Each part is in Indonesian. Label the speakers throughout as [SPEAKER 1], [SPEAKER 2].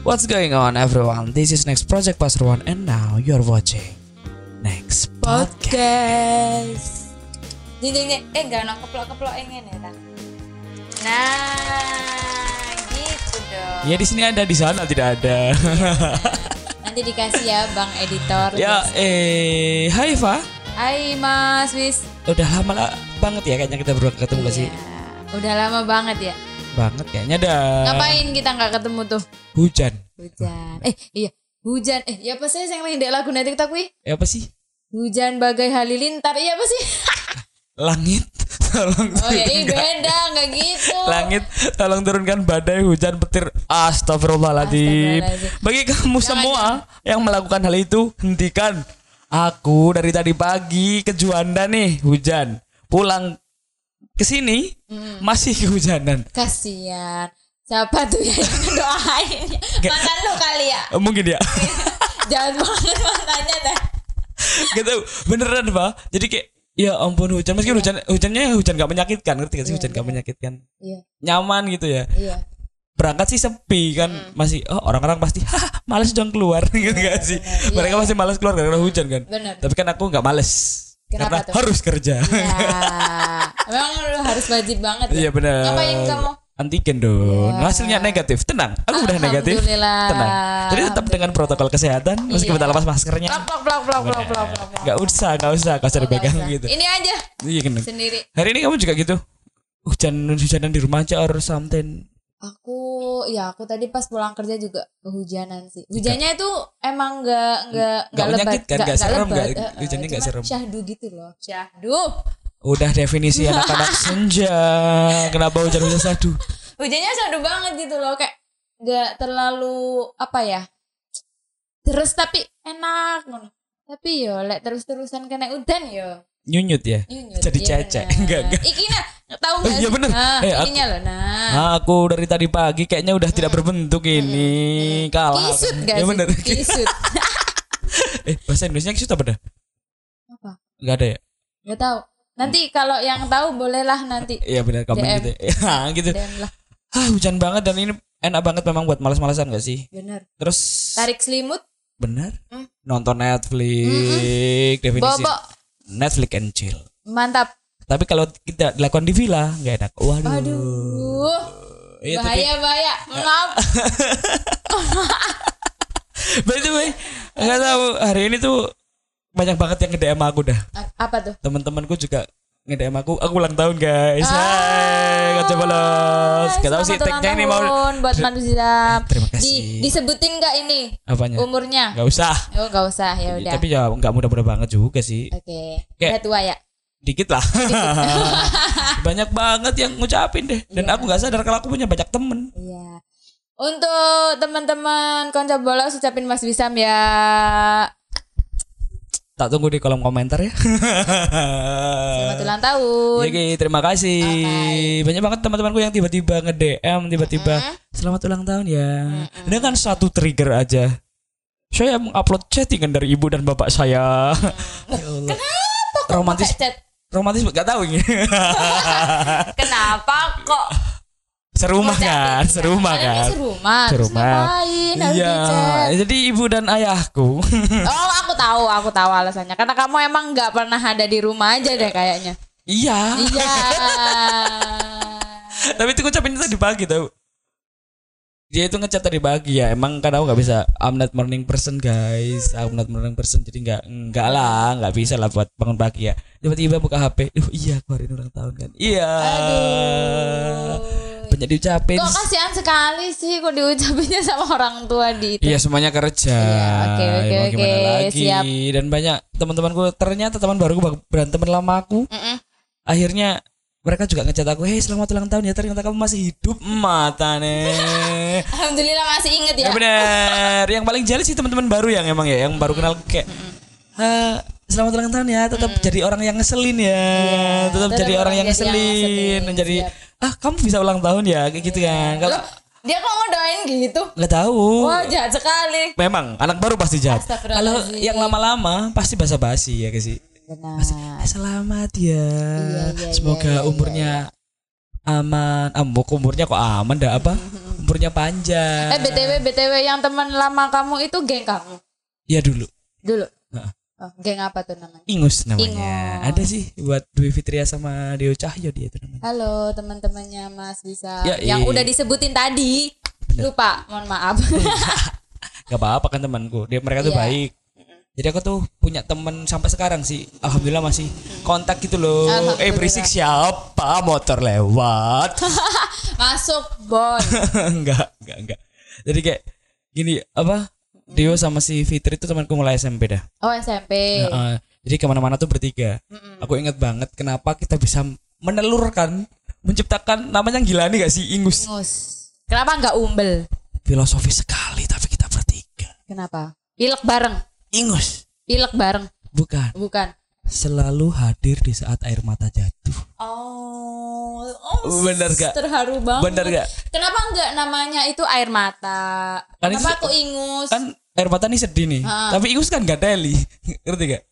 [SPEAKER 1] What's going on everyone? This is Next Project Pasuruan and now you're watching Next Podcast.
[SPEAKER 2] podcast. Jeng jeng jeng, eh enggak nak keplok keplok ingin ya tak. Nah, gitu dong.
[SPEAKER 1] Ya di sini ada di sana tidak ada.
[SPEAKER 2] Nanti dikasih ya bang editor.
[SPEAKER 1] ya eh Hai Fa.
[SPEAKER 2] Hai Mas Wis.
[SPEAKER 1] Udah lama lah banget ya kayaknya kita berdua ketemu nggak sih?
[SPEAKER 2] Iya. Udah lama banget ya.
[SPEAKER 1] Banget kayaknya ada
[SPEAKER 2] Ngapain kita nggak ketemu tuh?
[SPEAKER 1] hujan.
[SPEAKER 2] Hujan. Eh iya, hujan. Eh ya apa sih yang main dek lagu nanti kita kui?
[SPEAKER 1] Ya apa sih?
[SPEAKER 2] Hujan bagai halilintar. Iya apa sih?
[SPEAKER 1] Langit. Tolong
[SPEAKER 2] Oh ya, ini
[SPEAKER 1] turunkan-
[SPEAKER 2] beda nggak gitu.
[SPEAKER 1] Langit, tolong turunkan badai hujan petir. Astagfirullahaladzim.
[SPEAKER 2] Astagfirullahaladzim.
[SPEAKER 1] Bagi kamu semua yang melakukan hal itu, hentikan. Aku dari tadi pagi ke Juanda nih hujan. Pulang ke sini
[SPEAKER 2] Hmm.
[SPEAKER 1] masih kehujanan.
[SPEAKER 2] Kasian. Siapa tuh ya yang doain? Mantan lu kali ya.
[SPEAKER 1] Eh, Mungkin ya.
[SPEAKER 2] Jangan banget mantannya dah.
[SPEAKER 1] gitu beneran pak jadi kayak ya ampun hujan meskipun hujan hujannya hujan gak menyakitkan ngerti gak sih hujan gak menyakitkan
[SPEAKER 2] Iya,
[SPEAKER 1] nyaman gitu ya
[SPEAKER 2] iya.
[SPEAKER 1] berangkat sih sepi kan
[SPEAKER 2] Hmm.
[SPEAKER 1] masih oh orang-orang pasti hah males dong keluar gitu gak sih mereka masih males keluar karena hujan kan
[SPEAKER 2] Iya, Bener.
[SPEAKER 1] tapi kan aku nggak males
[SPEAKER 2] Kenapa
[SPEAKER 1] karena
[SPEAKER 2] tuh?
[SPEAKER 1] harus kerja
[SPEAKER 2] Ya. Memang lu harus wajib banget ya.
[SPEAKER 1] iya benar
[SPEAKER 2] Ngapain kamu? Iya.
[SPEAKER 1] antigen dong hasilnya negatif tenang aku udah negatif
[SPEAKER 2] Alhamdulillah. Iya.
[SPEAKER 1] tenang jadi tetap dengan protokol kesehatan meskipun tak lepas maskernya
[SPEAKER 2] Plok plok plok plok plok plok plok. plok.
[SPEAKER 1] nggak usah nggak usah nggak usah dipegang
[SPEAKER 2] Nah,
[SPEAKER 1] gitu
[SPEAKER 2] Ini aja
[SPEAKER 1] iya kan
[SPEAKER 2] sendiri.
[SPEAKER 1] Hari ini kamu juga gitu? Hujan hujanan di rumah aja or something.
[SPEAKER 2] Aku ya aku tadi pas pulang kerja juga kehujanan sih. Hujannya itu emang nggak nggak
[SPEAKER 1] Nggak
[SPEAKER 2] lebat,
[SPEAKER 1] menyakitkan, nggak serem, nggak-
[SPEAKER 2] eh, eh,
[SPEAKER 1] hujannya nggak
[SPEAKER 2] cuman
[SPEAKER 1] serem.
[SPEAKER 2] Syahdu gitu loh. Syahdu.
[SPEAKER 1] Udah definisi anak-anak senja. Kenapa hujan-hujan sadu?
[SPEAKER 2] hujannya sadu banget gitu loh kayak nggak terlalu apa ya terus tapi enak ngono. tapi yo lek terus terusan kena udan yo
[SPEAKER 1] Nyunyut ya.
[SPEAKER 2] nyunyut,
[SPEAKER 1] Jadi
[SPEAKER 2] iya
[SPEAKER 1] cecek.
[SPEAKER 2] bener.
[SPEAKER 1] Enggak, enggak.
[SPEAKER 2] iki nah tahu
[SPEAKER 1] Oh,
[SPEAKER 2] nggak
[SPEAKER 1] iya
[SPEAKER 2] sih?
[SPEAKER 1] bener.
[SPEAKER 2] nah,
[SPEAKER 1] Eh, aku-
[SPEAKER 2] ininya loh nah
[SPEAKER 1] Ah, Aku dari tadi pagi kayaknya udah tidak berbentuk ini. Kalah.
[SPEAKER 2] Ah. Hmm. kisut
[SPEAKER 1] aku.
[SPEAKER 2] gak
[SPEAKER 1] Ya
[SPEAKER 2] sih
[SPEAKER 1] bener.
[SPEAKER 2] kisut
[SPEAKER 1] eh, bahasa Indonesia kisut apa dah?
[SPEAKER 2] apa
[SPEAKER 1] Enggak ada ya?
[SPEAKER 2] nggak tahu nanti kalau yang tahu bolehlah nanti
[SPEAKER 1] Iya benar kamu
[SPEAKER 2] DM.
[SPEAKER 1] gitu. Ya, gitu.
[SPEAKER 2] dan lah
[SPEAKER 1] Ah, hujan banget dan ini enak banget memang buat malas-malasan gak sih?
[SPEAKER 2] bener
[SPEAKER 1] Terus
[SPEAKER 2] tarik selimut
[SPEAKER 1] bener
[SPEAKER 2] Hmm.
[SPEAKER 1] nonton Netflix definisi
[SPEAKER 2] bobok
[SPEAKER 1] Netflix and chill.
[SPEAKER 2] mantap
[SPEAKER 1] Tapi kalau kita dilakukan di villa nggak enak. Waduh.
[SPEAKER 2] aduh
[SPEAKER 1] Iya, tapi-
[SPEAKER 2] bahaya bahaya maaf
[SPEAKER 1] By the way, nggak tahu hari ini tuh banyak banget yang nge-DM aku dah.
[SPEAKER 2] A- apa tuh
[SPEAKER 1] Teman-temanku juga nge-DM aku. Aku ulang tahun, guys. Hai, kaca bolos. Nggak tahu sih
[SPEAKER 2] Ah, Selamat
[SPEAKER 1] tag-nya
[SPEAKER 2] ulang
[SPEAKER 1] ini mau Eh,
[SPEAKER 2] tahun buat manusia.
[SPEAKER 1] terima kasih.
[SPEAKER 2] Di, disebutin nggak ini
[SPEAKER 1] apanya?
[SPEAKER 2] umurnya?
[SPEAKER 1] Nggak usah.
[SPEAKER 2] Oh, nggak usah ya udah.
[SPEAKER 1] Tapi ya nggak mudah-mudah banget juga sih.
[SPEAKER 2] Oke.
[SPEAKER 1] Kayak-
[SPEAKER 2] Udah tua ya.
[SPEAKER 1] Dikit lah. banyak banget yang ngucapin deh. Dan aku nggak sadar kalau aku punya banyak temen.
[SPEAKER 2] Iya. Untuk teman-teman konco bolos ucapin Mas Bisam ya.
[SPEAKER 1] Tak tunggu di kolom komentar ya.
[SPEAKER 2] Selamat
[SPEAKER 1] Eh,
[SPEAKER 2] ulang tahun.
[SPEAKER 1] Oke, Iya, terima kasih. Banyak banget teman-temanku yang tiba-tiba nge-DM, tiba-tiba selamat ulang tahun ya. Dengan satu trigger aja. Saya mengupload chattingan dari ibu dan bapak saya. Ya
[SPEAKER 2] Mm.
[SPEAKER 1] Allah. Romantis,
[SPEAKER 2] Pakai chat.
[SPEAKER 1] romantis gak tahu ini.
[SPEAKER 2] Kenapa kok?
[SPEAKER 1] serumah kan, serumah
[SPEAKER 2] Kalian ini
[SPEAKER 1] kan.
[SPEAKER 2] serumah. terus
[SPEAKER 1] Serumah.
[SPEAKER 2] Ngapain? Harus
[SPEAKER 1] Iya,
[SPEAKER 2] di chat.
[SPEAKER 1] jadi ibu dan ayahku.
[SPEAKER 2] Oh, aku tahu, aku tahu alasannya. Karena kamu emang nggak pernah ada di rumah aja deh kayaknya.
[SPEAKER 1] iya,
[SPEAKER 2] Iya.
[SPEAKER 1] tapi itu ucapinnya tadi pagi tau. Dia itu ngechat tadi pagi ya. Emang kan aku nggak bisa. I'm not morning person guys. I'm not morning person. Jadi nggak nggak lah, nggak bisa lah buat bangun pagi ya. Tiba-tiba buka HP. Duh, iya aku hari ini ulang tahun kan. Iya. Banyak diucapin.
[SPEAKER 2] Kok kasihan sekali sih kok diucapinnya sama orang tua di itu.
[SPEAKER 1] Iya semuanya kerja.
[SPEAKER 2] gitu? Iya, oke, oke,
[SPEAKER 1] Mau gimana
[SPEAKER 2] oke,
[SPEAKER 1] lagi?
[SPEAKER 2] siap.
[SPEAKER 1] Dan banyak teman-temanku ternyata teman baruku berantem lama aku.
[SPEAKER 2] Mm-mm.
[SPEAKER 1] akhirnya mereka juga ngechat aku hei selamat ulang tahun ya ternyata kamu masih hidup mata nih
[SPEAKER 2] Alhamdulillah masih inget ya.
[SPEAKER 1] ya bener yang paling jealous sih teman-teman baru yang emang ya yang baru kenal aku kayak "Eh, selamat ulang tahun ya tetap jadi orang yang ngeselin ya tetap,
[SPEAKER 2] Iya, tetap
[SPEAKER 1] jadi orang yang
[SPEAKER 2] jadi orang yang
[SPEAKER 1] ngeselin
[SPEAKER 2] ngeselin,
[SPEAKER 1] jadi ah kamu bisa ulang tahun ya kayak gitu kan kalau
[SPEAKER 2] Iya. Loh, dia kok ngedoain gitu?
[SPEAKER 1] nggak tahu
[SPEAKER 2] Wah, jahat sekali.
[SPEAKER 1] memang anak baru pasti jahat kalau
[SPEAKER 2] Astagfirullahaladzim.
[SPEAKER 1] yang lama-lama pasti basa-basi ya gak sih
[SPEAKER 2] Benar.
[SPEAKER 1] Eh, selamat ya.
[SPEAKER 2] iya,
[SPEAKER 1] Semoga umurnya aman. Ah, mau ke umurnya kok aman dah apa? liburnya panjang.
[SPEAKER 2] Eh BTW BTW yang teman lama kamu itu geng kamu
[SPEAKER 1] Iya dulu.
[SPEAKER 2] dulu.
[SPEAKER 1] Heeh.
[SPEAKER 2] Oh, geng apa tuh namanya?
[SPEAKER 1] Ingus namanya.
[SPEAKER 2] Ingus.
[SPEAKER 1] Ada sih buat Dwi Fitria sama Dio Cahyo dia itu namanya.
[SPEAKER 2] Halo teman-temannya Mas Bisa
[SPEAKER 1] Ya,
[SPEAKER 2] yang
[SPEAKER 1] iya.
[SPEAKER 2] udah disebutin tadi. Lupa, mohon maaf.
[SPEAKER 1] Iya. Gak apa-apa kan temanku. Dia mereka tuh Iya. baik. Jadi aku tuh punya temen sampai sekarang sih. Alhamdulillah masih kontak gitu loh. Eh
[SPEAKER 2] Alhamdulillah.
[SPEAKER 1] berisik siapa motor lewat?
[SPEAKER 2] Masuk Bon.
[SPEAKER 1] enggak, enggak, enggak. Jadi kayak gini apa? Dio sama si Fitri itu temanku mulai SMP dah.
[SPEAKER 2] Oh SMP.
[SPEAKER 1] Heeh. jadi kemana-mana tuh bertiga. Aku ingat banget kenapa kita bisa menelurkan, menciptakan namanya Gilani gak sih Ingus?
[SPEAKER 2] Ngus. Kenapa nggak umbel?
[SPEAKER 1] Filosofis sekali tapi kita bertiga.
[SPEAKER 2] Kenapa? Pilek bareng.
[SPEAKER 1] Ingus
[SPEAKER 2] Pilek bareng.
[SPEAKER 1] bukan
[SPEAKER 2] Bukan.
[SPEAKER 1] selalu hadir di saat air mata jatuh.
[SPEAKER 2] Oh, oh
[SPEAKER 1] Bener gak?
[SPEAKER 2] terharu banget.
[SPEAKER 1] Bener gak?
[SPEAKER 2] Kenapa nggak namanya itu air mata?
[SPEAKER 1] Kan
[SPEAKER 2] Kenapa
[SPEAKER 1] itu-
[SPEAKER 2] aku ingus?
[SPEAKER 1] Kan air mata nih sedih nih.
[SPEAKER 2] Heeh.
[SPEAKER 1] Tapi Ingus kan gak teli. Ngerti gak?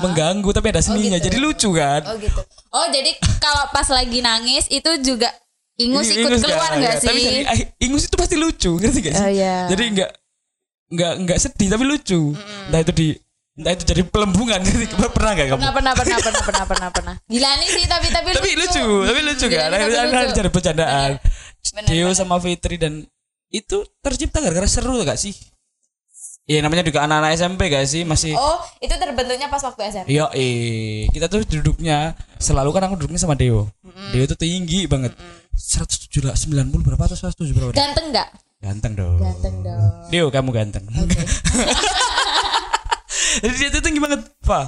[SPEAKER 1] Mengganggu tapi ada seninya.
[SPEAKER 2] Ah. gitu.
[SPEAKER 1] Jadi lucu kan?
[SPEAKER 2] Oh gitu. Oh jadi kalau pas lagi nangis itu juga ingus
[SPEAKER 1] Ini
[SPEAKER 2] ikut keluar
[SPEAKER 1] nggak?
[SPEAKER 2] nggak
[SPEAKER 1] Nggak. Tapi jadi,
[SPEAKER 2] sih?
[SPEAKER 1] eh, ingus itu pasti lucu, ngerti gak sih?
[SPEAKER 2] Oh, iya.
[SPEAKER 1] Jadi nggak nggak nggak sedih tapi lucu. Entah itu di entah itu jadi pelembungan ngerti nggak? pernah nggak kamu?
[SPEAKER 2] Pernah pernah pernah pernah pernah pernah pernah. Gila nih sih tapi tapi
[SPEAKER 1] tapi lucu, tapi lucu kan?
[SPEAKER 2] Gila nih, Iya, tapi
[SPEAKER 1] Ada
[SPEAKER 2] lucu.
[SPEAKER 1] jadi bercandaan.
[SPEAKER 2] Bener,
[SPEAKER 1] Dio
[SPEAKER 2] bener.
[SPEAKER 1] sama Fitri dan itu tercipta gara-gara seru gak sih? Ya namanya juga anak-anak SMP gak sih masih
[SPEAKER 2] Oh itu terbentuknya pas waktu SMP.
[SPEAKER 1] Yo, eh, kita tuh duduknya selalu kan aku duduknya sama Dio. Dio tuh tinggi banget. 190 berapa atau 170 berapa?
[SPEAKER 2] Ganteng nggak?
[SPEAKER 1] Ganteng dong.
[SPEAKER 2] Ganteng dong.
[SPEAKER 1] Dio kamu ganteng. Jadi dia tuh tinggi banget, Pak.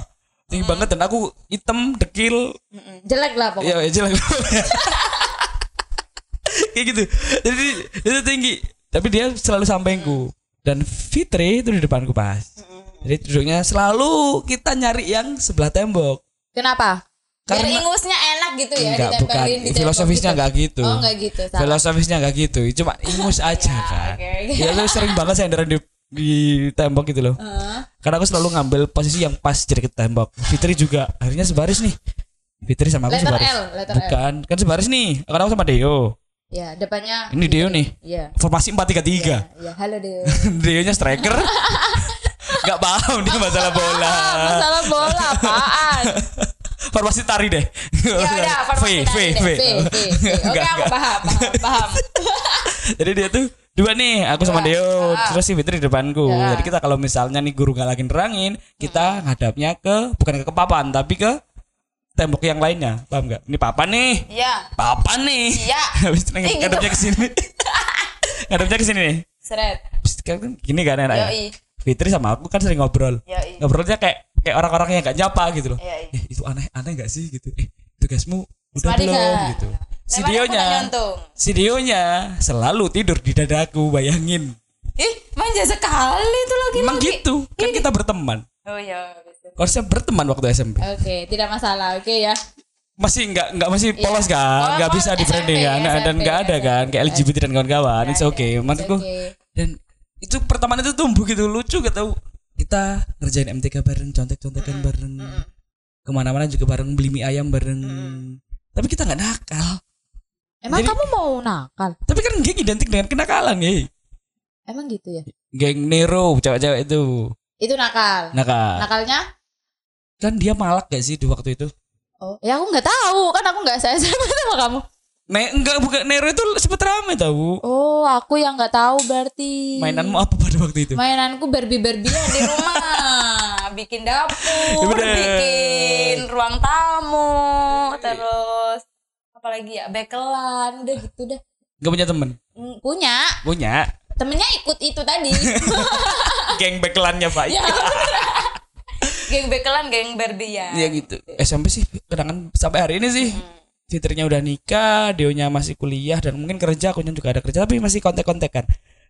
[SPEAKER 1] Tinggi banget dan aku hitam, dekil,
[SPEAKER 2] Mm-mm. Jelek lah pokoknya.
[SPEAKER 1] ya ya jelek. Kayak gitu. Jadi dia tuh tinggi, tapi dia selalu sampingku. Dan Fitri itu di depanku pas. Jadi duduknya selalu kita nyari yang sebelah tembok.
[SPEAKER 2] Kenapa? Biar
[SPEAKER 1] Karena-
[SPEAKER 2] ingusnya enak gitu ya
[SPEAKER 1] Enggak, bukan.
[SPEAKER 2] ditempelin di tembok
[SPEAKER 1] Filosofisnya
[SPEAKER 2] gitu.
[SPEAKER 1] enggak gitu.
[SPEAKER 2] Oh enggak gitu. Salah.
[SPEAKER 1] Filosofisnya enggak gitu, cuma ingus aja kan.
[SPEAKER 2] oke, oke.
[SPEAKER 1] Ya lu sering banget senderan di di tembok gitu loh.
[SPEAKER 2] Heeh.
[SPEAKER 1] Karena aku selalu ngambil posisi yang pas jadi ke tembok. Fitri juga akhirnya sebaris nih. Fitri sama aku
[SPEAKER 2] Letter
[SPEAKER 1] sebaris.
[SPEAKER 2] L, letter L.
[SPEAKER 1] Bukan, kan sebaris nih. Karena aku sama Deo.
[SPEAKER 2] ya, depannya
[SPEAKER 1] Ini Deo nih.
[SPEAKER 2] Iya.
[SPEAKER 1] Formasi 433.
[SPEAKER 2] Ya, halo Deo.
[SPEAKER 1] Deo-nya striker. Gak paham dia masalah bola.
[SPEAKER 2] Ah, masalah bola apaan?
[SPEAKER 1] Formasi tari deh.
[SPEAKER 2] Ya udah, formasi
[SPEAKER 1] V, V, V.
[SPEAKER 2] tadi deh. V, V. Oke,
[SPEAKER 1] Enggak,
[SPEAKER 2] aku
[SPEAKER 1] enggak.
[SPEAKER 2] paham, paham, paham.
[SPEAKER 1] Jadi dia tuh dua nih, aku sama
[SPEAKER 2] Dua.
[SPEAKER 1] Deo,
[SPEAKER 2] Ah.
[SPEAKER 1] terus si Fitri di depanku.
[SPEAKER 2] Ya.
[SPEAKER 1] Jadi kita kalau misalnya nih guru nggak lagi nerangin, kita ngadapnya ke bukan ke papan, tapi ke tembok yang lainnya. Paham nggak? Ini papan nih.
[SPEAKER 2] Iya.
[SPEAKER 1] Papan nih.
[SPEAKER 2] Iya.
[SPEAKER 1] Habis itu
[SPEAKER 2] Eh, gitu.
[SPEAKER 1] ngadapnya ke sini. ngadapnya ke sini nih.
[SPEAKER 2] Seret.
[SPEAKER 1] Habis itu kan gini kan enak ya.
[SPEAKER 2] Yoi. Iya.
[SPEAKER 1] Fitri sama aku kan sering ngobrol.
[SPEAKER 2] Yoi.
[SPEAKER 1] Ngobrolnya kayak kayak orang-orang yang gak nyapa gitu loh.
[SPEAKER 2] Yoi.
[SPEAKER 1] Eh, itu aneh aneh gak sih gitu. Eh, tugasmu udah
[SPEAKER 2] Mari,
[SPEAKER 1] belum
[SPEAKER 2] Kak.
[SPEAKER 1] gitu. Si
[SPEAKER 2] Lewat aku
[SPEAKER 1] Dionya
[SPEAKER 2] nggak nyontoh.
[SPEAKER 1] Si Dionya selalu tidur di dadaku, bayangin.
[SPEAKER 2] Ih, manja sekali tuh lagi.
[SPEAKER 1] Emang gitu, kan kita berteman.
[SPEAKER 2] Oh iya.
[SPEAKER 1] Konsep berteman waktu SMP.
[SPEAKER 2] Oke, tidak masalah. Oke ya.
[SPEAKER 1] Masih nggak nggak masih polos kan,
[SPEAKER 2] Oh,
[SPEAKER 1] nggak bisa
[SPEAKER 2] polos
[SPEAKER 1] di branding
[SPEAKER 2] SMP,
[SPEAKER 1] kan,
[SPEAKER 2] SMP,
[SPEAKER 1] dan nggak ada kan, kayak LGBT dan kawan-kawan. It's okay, maksudku.
[SPEAKER 2] Oke.
[SPEAKER 1] Dan itu pertemanan itu tumbuh gitu lucu gak tau. Kita ngerjain MTK bareng, contek-contekan bareng, kemana-mana juga bareng, beli mie ayam bareng. Tapi kita nggak nakal.
[SPEAKER 2] Emang
[SPEAKER 1] Jadi-
[SPEAKER 2] kamu mau nakal?
[SPEAKER 1] Tapi kan geng identik dengan kenakalan ya.
[SPEAKER 2] Emang gitu ya?
[SPEAKER 1] Geng Nero, cewek-cewek itu
[SPEAKER 2] Itu nakal.
[SPEAKER 1] nakal.
[SPEAKER 2] Nakalnya?
[SPEAKER 1] kan dia malak gak sih di waktu itu?
[SPEAKER 2] Oh, ya aku nggak tahu kan aku nggak saya sama kamu.
[SPEAKER 1] Ne enggak bukan Nero itu sempet rame tahu.
[SPEAKER 2] Oh, aku yang nggak tahu berarti.
[SPEAKER 1] Mainanmu apa pada waktu itu?
[SPEAKER 2] Mainanku Barbie Barbian di rumah, bikin dapur,
[SPEAKER 1] Iya, Bener. Iya.
[SPEAKER 2] bikin ruang tamu, terus apalagi ya bekelan, udah gitu dah.
[SPEAKER 1] Enggak punya temen?
[SPEAKER 2] Mm, Punya
[SPEAKER 1] Punya.
[SPEAKER 2] temennya ikut itu tadi, Ya.
[SPEAKER 1] Geng bekelannya Pak. Iya
[SPEAKER 2] geng bekelan, geng Barbian.
[SPEAKER 1] gitu. SMP sih kenangan sampai hari ini sih. Fitrinya udah nikah, Dionya masih kuliah dan mungkin kerja, akunya juga ada kerja tapi masih kontek-kontekan.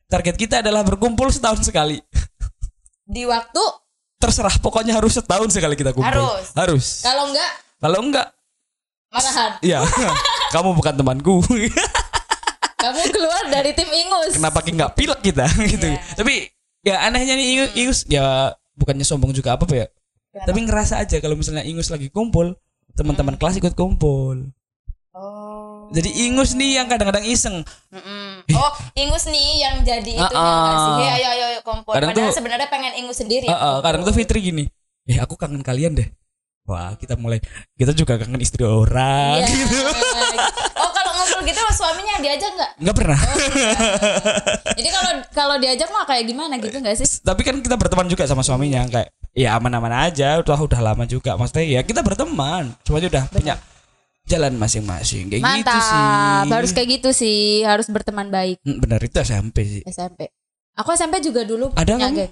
[SPEAKER 1] Target kita adalah berkumpul setahun sekali.
[SPEAKER 2] Di waktu
[SPEAKER 1] Terserah, pokoknya harus setahun sekali kita kumpul.
[SPEAKER 2] Harus.
[SPEAKER 1] Harus.
[SPEAKER 2] kalau enggak
[SPEAKER 1] Kalau enggak,
[SPEAKER 2] marahan,
[SPEAKER 1] ya kamu bukan temanku.
[SPEAKER 2] kamu keluar dari tim Ingus.
[SPEAKER 1] kenapa ki nggak pilek kita gitu tapi ya anehnya nih ingus, Ingus, ya bukannya sombong juga apa apa ya tapi ngerasa aja kalau misalnya ingus lagi kumpul teman-teman kelas ikut kumpul
[SPEAKER 2] Oh.
[SPEAKER 1] jadi ingus nih yang kadang-kadang iseng
[SPEAKER 3] Mm-mm. Oh, ingus nih yang jadi itu nggak sih?
[SPEAKER 2] Iya,
[SPEAKER 3] Hei, ayo ayo ayo kompor.
[SPEAKER 1] Ah, Kadang
[SPEAKER 3] Padahal
[SPEAKER 1] tuh-
[SPEAKER 3] sebenarnya pengen ingus sendiri.
[SPEAKER 1] Eh, eh, kadang tuh Fitri gini eh aku kangen kalian deh wah kita mulai kita juga kangen istri orang
[SPEAKER 3] Iya.
[SPEAKER 1] gitu
[SPEAKER 3] oh, kalau ngumpul gitu suaminya diajak nggak?
[SPEAKER 1] nggak pernah
[SPEAKER 2] Jadi kalau kalau diajak mah kayak gimana gitu nggak sih?
[SPEAKER 1] tapi kan kita berteman juga sama suaminya kayak ya aman-aman aja udah udah lama juga maksudnya ya kita berteman cuma aja udah punya jalan masing-masing kayak gitu sih
[SPEAKER 2] Mantap. Harus kayak gitu sih, harus berteman baik
[SPEAKER 1] Hmm, benar itu SMP sih
[SPEAKER 2] SMP. Aku SMP juga dulu
[SPEAKER 1] Ada kan?
[SPEAKER 2] punya
[SPEAKER 1] kamu?
[SPEAKER 2] geng.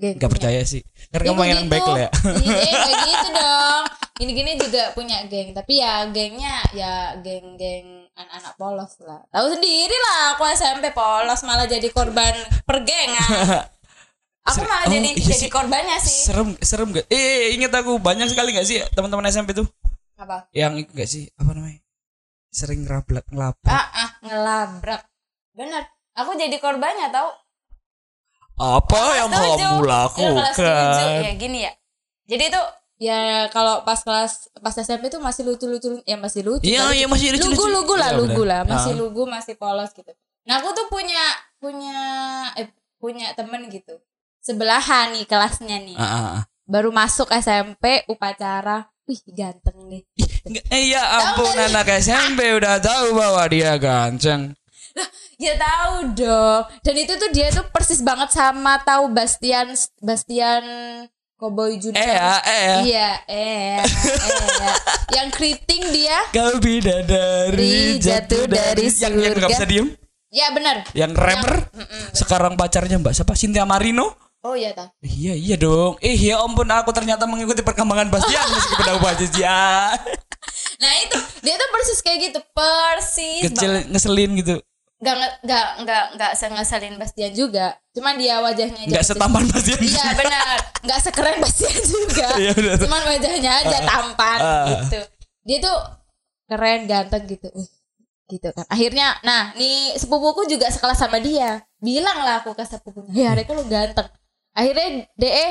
[SPEAKER 2] Geng.
[SPEAKER 1] nggak percaya sih karena kamu yang baik lah ya
[SPEAKER 2] Iya, gitu. kayak gitu dong. Gini-gini juga punya geng, tapi ya gengnya ya geng-geng anak-anak polos lah. Tahu sendiri lah, aku SMP polos malah jadi korban pergengan.
[SPEAKER 3] Aku malah
[SPEAKER 1] Oh,
[SPEAKER 3] jadi
[SPEAKER 1] iya
[SPEAKER 3] jadi
[SPEAKER 1] sih.
[SPEAKER 3] korbannya sih.
[SPEAKER 1] serem serem gak eh ingat aku banyak sekali gak sih teman-teman SMP tuh
[SPEAKER 3] Apa?
[SPEAKER 1] yang itu gak sih apa namanya sering ngerablak ngelapor
[SPEAKER 3] Ah, ah, ngelabrak. Bener. Aku jadi korbannya tau.
[SPEAKER 1] apa Ah, yang
[SPEAKER 3] Setuju. Iya,
[SPEAKER 1] kamu
[SPEAKER 3] kelas tujuh.
[SPEAKER 1] lakukan
[SPEAKER 3] Ya gini ya. Jadi tuh
[SPEAKER 2] Ya kalau pas kelas pas SMP tuh masih lucu-lucu, ya masih lucu.
[SPEAKER 1] Iya,
[SPEAKER 2] tapi
[SPEAKER 1] iya, masih lucu-lucu.
[SPEAKER 2] Lugu-lugu lah,
[SPEAKER 1] Iya,
[SPEAKER 2] lugu lah,
[SPEAKER 1] benar.
[SPEAKER 2] masih
[SPEAKER 1] Ah.
[SPEAKER 2] lugu, masih polos gitu. Nah aku tuh punya punya eh, punya temen gitu sebelahan nih kelasnya nih.
[SPEAKER 1] Ah, ah, ah.
[SPEAKER 2] Baru masuk SMP upacara, wih ganteng nih.
[SPEAKER 1] Nggak- eh, ya ampun anak SMP udah tahu bahwa dia ganceng
[SPEAKER 2] Ya tahu dong. Dan itu tuh dia tuh persis banget sama tahu Bastian Bastian Cowboy Junior.
[SPEAKER 1] eh ya eh ya
[SPEAKER 2] Iya, eh, eh. Yang keriting dia.
[SPEAKER 1] kau bidadari
[SPEAKER 2] Dari jatuh dari
[SPEAKER 1] yang yang nggak
[SPEAKER 2] surga.
[SPEAKER 1] bisa diem
[SPEAKER 2] Ya benar.
[SPEAKER 1] yang rapper sekarang pacarnya mbak siapa Cynthia Marino
[SPEAKER 2] Oh iya tahu.
[SPEAKER 1] Iya iya dong. Eh ya ampun aku ternyata mengikuti perkembangan Bastian meskipun aku aja ya.
[SPEAKER 2] Nah itu dia tuh persis kayak gitu, persis.
[SPEAKER 1] Kecil ngeselin gitu.
[SPEAKER 3] nggak nge- nggak nggak nggak sengeselin Bas.
[SPEAKER 2] Bastian juga. Cuman dia wajahnya aja.
[SPEAKER 1] Enggak
[SPEAKER 2] persis.
[SPEAKER 1] setampan Bastian.
[SPEAKER 2] Iya benar. Nggak sekeren Bastian juga.
[SPEAKER 1] Iya, benar.
[SPEAKER 2] Cuman wajahnya aja tampan
[SPEAKER 1] Ah.
[SPEAKER 2] gitu. Dia tuh keren, ganteng gitu. Uh, gitu kan. Akhirnya nah, nih sepupuku juga sekelas sama dia. Bilang lah aku ke sepupunya, "Ya, adekku lu ganteng." Akhirnya DE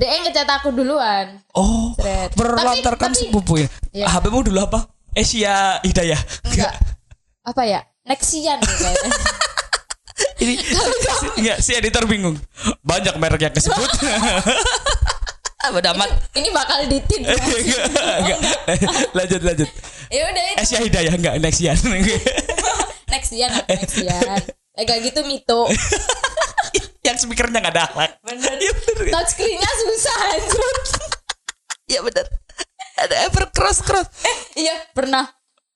[SPEAKER 2] DE E ngecat aku duluan.
[SPEAKER 1] Oh, ya?
[SPEAKER 2] Seret.
[SPEAKER 1] berlatarkan
[SPEAKER 2] Tapi- tapi-
[SPEAKER 1] sepupunya.
[SPEAKER 2] Iya.
[SPEAKER 1] HPmu dulu apa? Asia Hidayah.
[SPEAKER 2] Enggak. Apa ya? Nexian gitu kayaknya.
[SPEAKER 1] Ini enggak si editor bingung. Banyak merek yang kesebut.
[SPEAKER 2] Ah,
[SPEAKER 1] Beda amat.
[SPEAKER 2] Ini bakal
[SPEAKER 1] Eh,
[SPEAKER 2] ditin.
[SPEAKER 1] Enggak,
[SPEAKER 2] Oh,
[SPEAKER 1] enggak. Lanjut lanjut.
[SPEAKER 2] ya udah itu
[SPEAKER 1] Asia Hidayah enggak Nexian.
[SPEAKER 2] Nexian, Nexian. Agak gitu mito.
[SPEAKER 1] yang speakernya enggak ada akhlak. Benar. Iya bener.
[SPEAKER 2] Touchscreen-nya susah anjir.
[SPEAKER 1] Iya benar. Ada ever cross cross.
[SPEAKER 2] Iya, pernah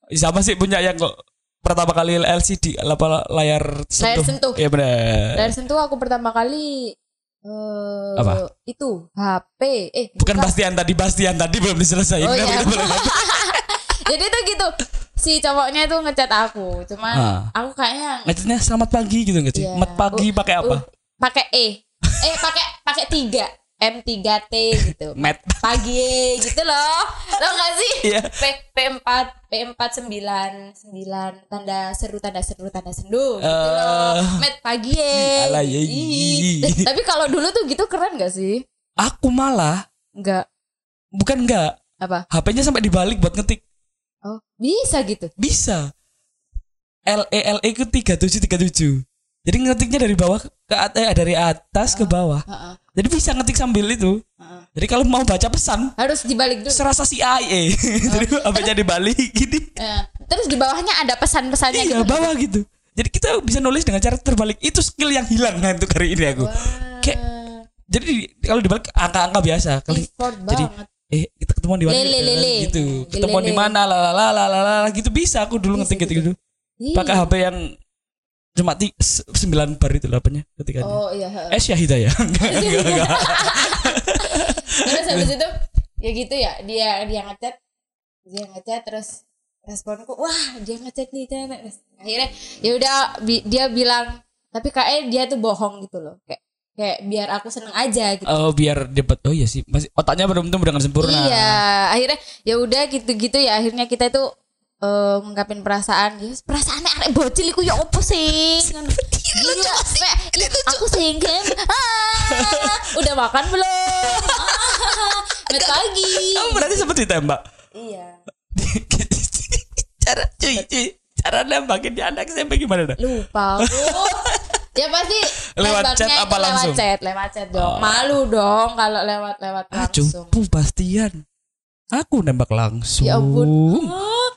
[SPEAKER 1] Siapa sih punya yang kok pertama kali LCD apa layar sentuh?
[SPEAKER 2] sentuh.
[SPEAKER 1] Iya benar.
[SPEAKER 2] Dari sentuh aku pertama kali eh
[SPEAKER 1] Apa?
[SPEAKER 2] itu HP eh
[SPEAKER 1] Bukan Bastian tadi, Bastian tadi belum diselesaikan.
[SPEAKER 2] Oh,
[SPEAKER 1] Kenapa
[SPEAKER 2] iya.
[SPEAKER 1] kita balik lagi?
[SPEAKER 2] jadi tuh gitu si cowoknya tuh ngechat aku cuman
[SPEAKER 1] Ah.
[SPEAKER 2] aku kayaknya
[SPEAKER 1] Ngecatnya selamat pagi gitu nggak sih?
[SPEAKER 2] ya,
[SPEAKER 1] Mat pagi
[SPEAKER 2] uh,
[SPEAKER 1] pakai apa?
[SPEAKER 2] uh, pakai E eh pakai pakai tiga M 3 T gitu
[SPEAKER 1] Mat.
[SPEAKER 2] pagi E gitu loh lo nggak sih
[SPEAKER 1] Iya.
[SPEAKER 2] P P 4 P 4 sembilan sembilan tanda seru tanda seru tanda sendu gitu loh
[SPEAKER 1] Eh.
[SPEAKER 2] met pagi E
[SPEAKER 1] Alah, iya,
[SPEAKER 2] Ih. Eh,
[SPEAKER 1] iya.
[SPEAKER 2] tapi kalau dulu tuh gitu keren gak sih
[SPEAKER 1] Aku malah
[SPEAKER 2] Enggak
[SPEAKER 1] bukan nggak
[SPEAKER 2] apa
[SPEAKER 1] HP-nya sampai dibalik buat ngetik
[SPEAKER 2] Oh, bisa gitu.
[SPEAKER 1] bisa. L E L E itu tiga tujuh tiga tujuh. Jadi ngetiknya dari bawah ke atas, eh, dari atas
[SPEAKER 2] Ah,
[SPEAKER 1] ke bawah. Jadi bisa ngetik sambil itu. Jadi kalau mau baca pesan
[SPEAKER 2] Harus dibalik dulu.
[SPEAKER 1] serasa CIA. E. Jadi gitu? apa dibalik gini.
[SPEAKER 2] Eh, terus di bawahnya ada pesan-pesannya
[SPEAKER 1] Iya
[SPEAKER 2] gitu.
[SPEAKER 1] bawah gitu. Jadi kita bisa nulis dengan cara terbalik. Itu skill yang hilang nah, untuk hari ini aku. Kayak jadi di- kalau dibalik angka-angka biasa. Kalau-
[SPEAKER 2] Effort
[SPEAKER 1] jadi
[SPEAKER 2] banget.
[SPEAKER 1] eh kita ketemuan di mana
[SPEAKER 2] Lele, lele.
[SPEAKER 1] gitu.
[SPEAKER 2] Lele,
[SPEAKER 1] Ketemuan di
[SPEAKER 2] lele.
[SPEAKER 1] mana lalala lalala gitu bisa aku dulu ngetik gitu. gitu.
[SPEAKER 2] Iya.
[SPEAKER 1] Pakai HP yang cuma ti- se- sembilan bar itu lah apanya ketika ini.
[SPEAKER 2] Oh iya. heeh.
[SPEAKER 1] Eh Syahida ya. Enggak, enggak, enggak.
[SPEAKER 2] Terus habis itu ya gitu ya, dia dia ngechat. Dia ngechat terus responku, "Wah, dia ngechat nih." Cewek. Terus Akhirnya ya udah bi- dia bilang, tapi kayak dia tuh bohong gitu loh. Kayak kayak biar aku seneng aja gitu.
[SPEAKER 1] Oh biar dapat oh iya sih masih otaknya belum tumbuh dengan sempurna.
[SPEAKER 2] Iya, akhirnya ya udah gitu-gitu ya akhirnya kita itu eh, ngungkapin perasaan. Ya perasaannya arek bocil iku ya opo sih? Gila, Mek. Ih, iya, aku singkin. Ah, udah makan belum? Ah, Met pagi.
[SPEAKER 1] Kamu berarti sempat ditembak.
[SPEAKER 2] Iya.
[SPEAKER 1] cara cuy cuy cara nembangin di anak SMP gimana dah
[SPEAKER 2] lupa aku. ya pasti
[SPEAKER 1] Lewat
[SPEAKER 2] nembaknya
[SPEAKER 1] chat
[SPEAKER 2] itu
[SPEAKER 1] apa langsung? Oh.
[SPEAKER 2] lewat chat lewat chat dong malu dong kalau lewat lewat
[SPEAKER 1] ah
[SPEAKER 2] langsung
[SPEAKER 1] cupu Bastian aku nembak langsung
[SPEAKER 2] ya ampun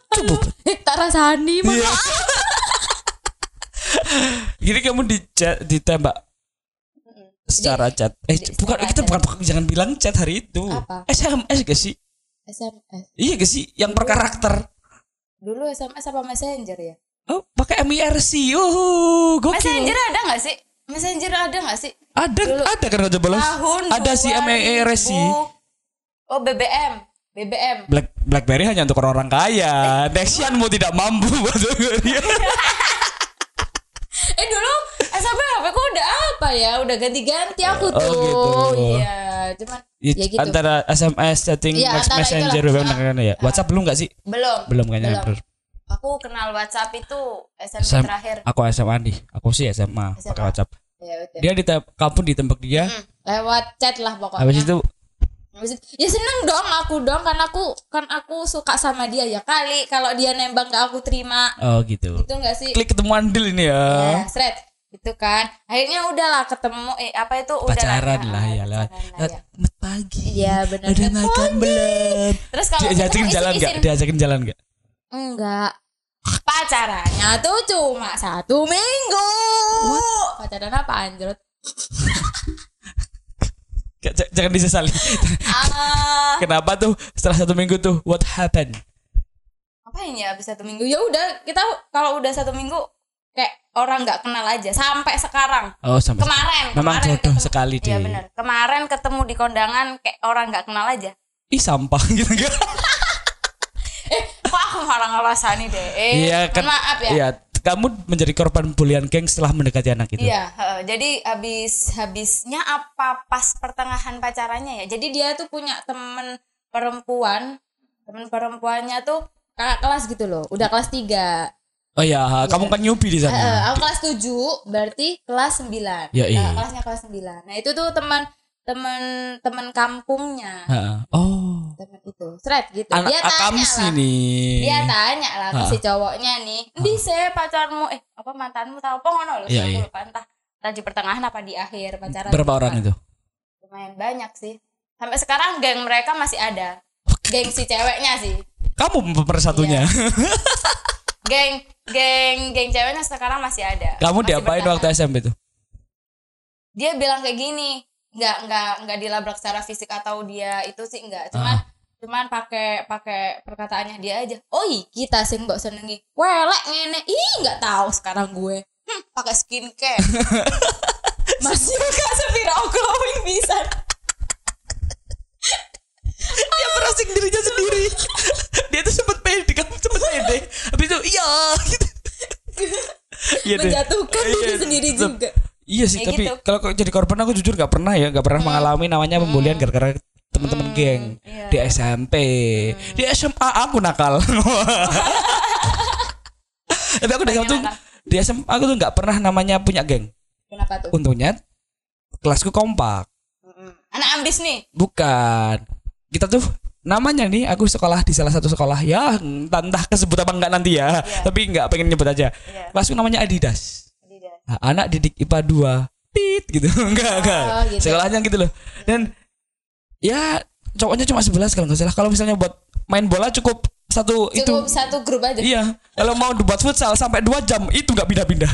[SPEAKER 1] Cupu.
[SPEAKER 2] Eh, tak rasani mah
[SPEAKER 1] Iya. Jadi kamu di chat- ditembak secara chat. Eh,
[SPEAKER 2] di-
[SPEAKER 1] bukan
[SPEAKER 2] secara
[SPEAKER 1] kita
[SPEAKER 2] chat.
[SPEAKER 1] bukan, bukan- jangan bilang chat hari itu.
[SPEAKER 2] Apa?
[SPEAKER 1] SMS gak sih?
[SPEAKER 2] SMS
[SPEAKER 1] Iya gak sih? Yang per karakter.
[SPEAKER 2] dulu SMS apa messenger ya
[SPEAKER 1] Oh, pakai MIRC. Oh, gokil.
[SPEAKER 3] Messenger ada nggak sih? Messenger ada nggak sih?
[SPEAKER 1] Ada ada kan Raja Bolos?
[SPEAKER 3] Tahun
[SPEAKER 1] Ada si E
[SPEAKER 3] 2000.
[SPEAKER 1] MIRC.
[SPEAKER 3] Oh BBM, BBM.
[SPEAKER 1] Black BlackBerry hanya untuk orang-orang kaya. Dexian mau tidak mampu maksudnya.
[SPEAKER 2] eh dulu SMP HP ku udah apa ya udah ganti-ganti aku
[SPEAKER 1] Oh,
[SPEAKER 2] tuh
[SPEAKER 1] gitu.
[SPEAKER 2] iya cuman
[SPEAKER 1] Ya,
[SPEAKER 2] ya gitu
[SPEAKER 1] Antara SMS chatting,
[SPEAKER 2] Iya,
[SPEAKER 1] mes-
[SPEAKER 2] antara
[SPEAKER 1] messenger,
[SPEAKER 2] itulah.
[SPEAKER 1] BBM, dan lain-lain ya. WhatsApp belum gak sih?
[SPEAKER 3] Belum.
[SPEAKER 1] Belum kan ya? kayaknya.
[SPEAKER 3] Belum.
[SPEAKER 1] Belum.
[SPEAKER 3] Aku kenal WhatsApp itu SMP
[SPEAKER 1] SM
[SPEAKER 3] terakhir.
[SPEAKER 1] Aku SMA nih. Aku sih SMA, pakai WhatsApp.
[SPEAKER 2] ya udah
[SPEAKER 1] Dia di kampung ditembak dia.
[SPEAKER 2] lewat chat lah pokoknya
[SPEAKER 1] Habis itu
[SPEAKER 2] Habis itu, ya seneng dong aku dong karena aku kan aku suka sama dia ya kali kalau dia nembak gak aku terima
[SPEAKER 1] oh gitu.
[SPEAKER 2] itu enggak sih
[SPEAKER 1] Klik ketemuan deal ini ya.
[SPEAKER 2] ya seret
[SPEAKER 3] Gitu kan. Akhirnya udahlah ketemu eh apa itu udah
[SPEAKER 1] Pacaran lah ya lewat.
[SPEAKER 3] lah ya.
[SPEAKER 1] Mat pagi.
[SPEAKER 2] Iya, benar.
[SPEAKER 1] Udah makan belum?
[SPEAKER 3] Terus kalau
[SPEAKER 1] Diajakin
[SPEAKER 3] ketemu
[SPEAKER 1] jalan enggak?
[SPEAKER 3] isi-isi
[SPEAKER 1] Diajakin jalan enggak?
[SPEAKER 2] enggak
[SPEAKER 3] pacarannya.
[SPEAKER 2] nah tuh cuma satu minggu pacaran apa anjrot
[SPEAKER 1] Nggak, j- Jangan disesali.
[SPEAKER 3] Ah,
[SPEAKER 1] Kenapa tuh setelah satu minggu tuh what happened?
[SPEAKER 3] ngapain ya habis satu minggu? Ya udah, kita kalau udah satu minggu kayak orang nggak kenal aja sampai sekarang.
[SPEAKER 1] Oh sama
[SPEAKER 3] Kemarin,
[SPEAKER 1] Memang
[SPEAKER 3] kemarin
[SPEAKER 1] jodoh
[SPEAKER 3] ketemu-
[SPEAKER 1] sekali
[SPEAKER 3] Iya
[SPEAKER 1] deh.
[SPEAKER 3] benar. Kemarin ketemu di kondangan kayak orang nggak kenal aja.
[SPEAKER 1] Ih sampah gitu enggak?
[SPEAKER 3] Eh, Kok aku malah ngerasani deh. Eh,
[SPEAKER 1] Iya
[SPEAKER 3] mohon
[SPEAKER 1] kan.
[SPEAKER 3] Maaf ya.
[SPEAKER 1] Iya, kamu menjadi korban bulian geng setelah mendekati anak itu.
[SPEAKER 3] Iya, heeh. jadi habis habisnya apa pas pertengahan pacarannya ya. Jadi dia tuh punya temen perempuan, temen perempuannya tuh
[SPEAKER 2] kakak kelas gitu loh udah kelas 3
[SPEAKER 1] Oh iya, kamu kan newbie di
[SPEAKER 2] Eh,
[SPEAKER 1] sana.
[SPEAKER 2] aku kelas 7 berarti kelas 9
[SPEAKER 1] Ya, iya.
[SPEAKER 3] Eh,
[SPEAKER 2] Nah, kelasnya kelas 9 nah itu tuh teman teman teman kampungnya
[SPEAKER 1] Heeh. Oh.
[SPEAKER 2] teman itu seret gitu
[SPEAKER 1] anak
[SPEAKER 2] dia tanya
[SPEAKER 1] akam
[SPEAKER 2] lah
[SPEAKER 1] sini
[SPEAKER 3] Iya,
[SPEAKER 2] dia tanya lah ke
[SPEAKER 1] Ah.
[SPEAKER 2] si cowoknya nih
[SPEAKER 3] di se pacarmu eh apa mantanmu tahu apa ngono loh
[SPEAKER 1] Iya,
[SPEAKER 3] saya
[SPEAKER 1] iya.
[SPEAKER 3] lupa entah entah di pertengahan apa di akhir pacaran
[SPEAKER 1] berapa orang itu
[SPEAKER 3] lumayan banyak sih sampai sekarang geng mereka masih ada geng si ceweknya sih
[SPEAKER 1] kamu pemersatunya
[SPEAKER 3] Iya. geng geng geng ceweknya sekarang masih ada
[SPEAKER 1] kamu
[SPEAKER 3] Masih
[SPEAKER 1] diapain
[SPEAKER 3] bertahan.
[SPEAKER 1] waktu SMP tuh
[SPEAKER 3] dia bilang kayak gini nggak nggak nggak dilabrak secara fisik atau dia itu sih nggak
[SPEAKER 1] Ah.
[SPEAKER 3] cuman cuman pakai pakai perkataannya dia aja Oh,
[SPEAKER 2] oi kita sih mbok senengi welek ngene ih nggak tahu sekarang gue
[SPEAKER 3] "Hmm, pakai skincare masih buka sepira glowing bisa
[SPEAKER 1] dia merasing dirinya sendiri dia tuh sempet pede kamu sempet pede habis itu iya gitu Iya deh.
[SPEAKER 2] menjatuhkan diri
[SPEAKER 1] Iya,
[SPEAKER 2] sendiri
[SPEAKER 1] tetep.
[SPEAKER 2] juga
[SPEAKER 1] iya sih
[SPEAKER 3] Kayak
[SPEAKER 1] tapi
[SPEAKER 3] gitu. Iya.
[SPEAKER 1] kalau kok jadi korban aku jujur nggak pernah ya nggak pernah mengalami namanya pembulian gara-gara
[SPEAKER 3] Hmm,
[SPEAKER 1] teman-teman geng
[SPEAKER 3] iya.
[SPEAKER 1] di SMP di SMA aku nakal tapi aku dari tuh di SMA aku tuh nggak pernah namanya punya geng
[SPEAKER 2] kenapa tuh
[SPEAKER 1] untungnya kelasku kompak
[SPEAKER 3] anak ambis nih
[SPEAKER 1] bukan kita tuh namanya nih aku sekolah di salah satu sekolah ya entah, entah kesebut apa enggak nanti ya tapi enggak pengen nyebut aja
[SPEAKER 3] Iya.
[SPEAKER 1] kelasku namanya Adidas
[SPEAKER 3] Adidas.
[SPEAKER 1] Nah, anak didik IPA 2 tit gitu enggak
[SPEAKER 3] Oh,
[SPEAKER 1] enggak
[SPEAKER 2] gitu.
[SPEAKER 1] sekolahnya gitu loh dan ya cowoknya cuma 11 kalau nggak salah kalau misalnya buat main bola cukup satu itu
[SPEAKER 2] cukup satu grup aja
[SPEAKER 1] iya kalau mau buat futsal sampai dua jam itu nggak pindah-pindah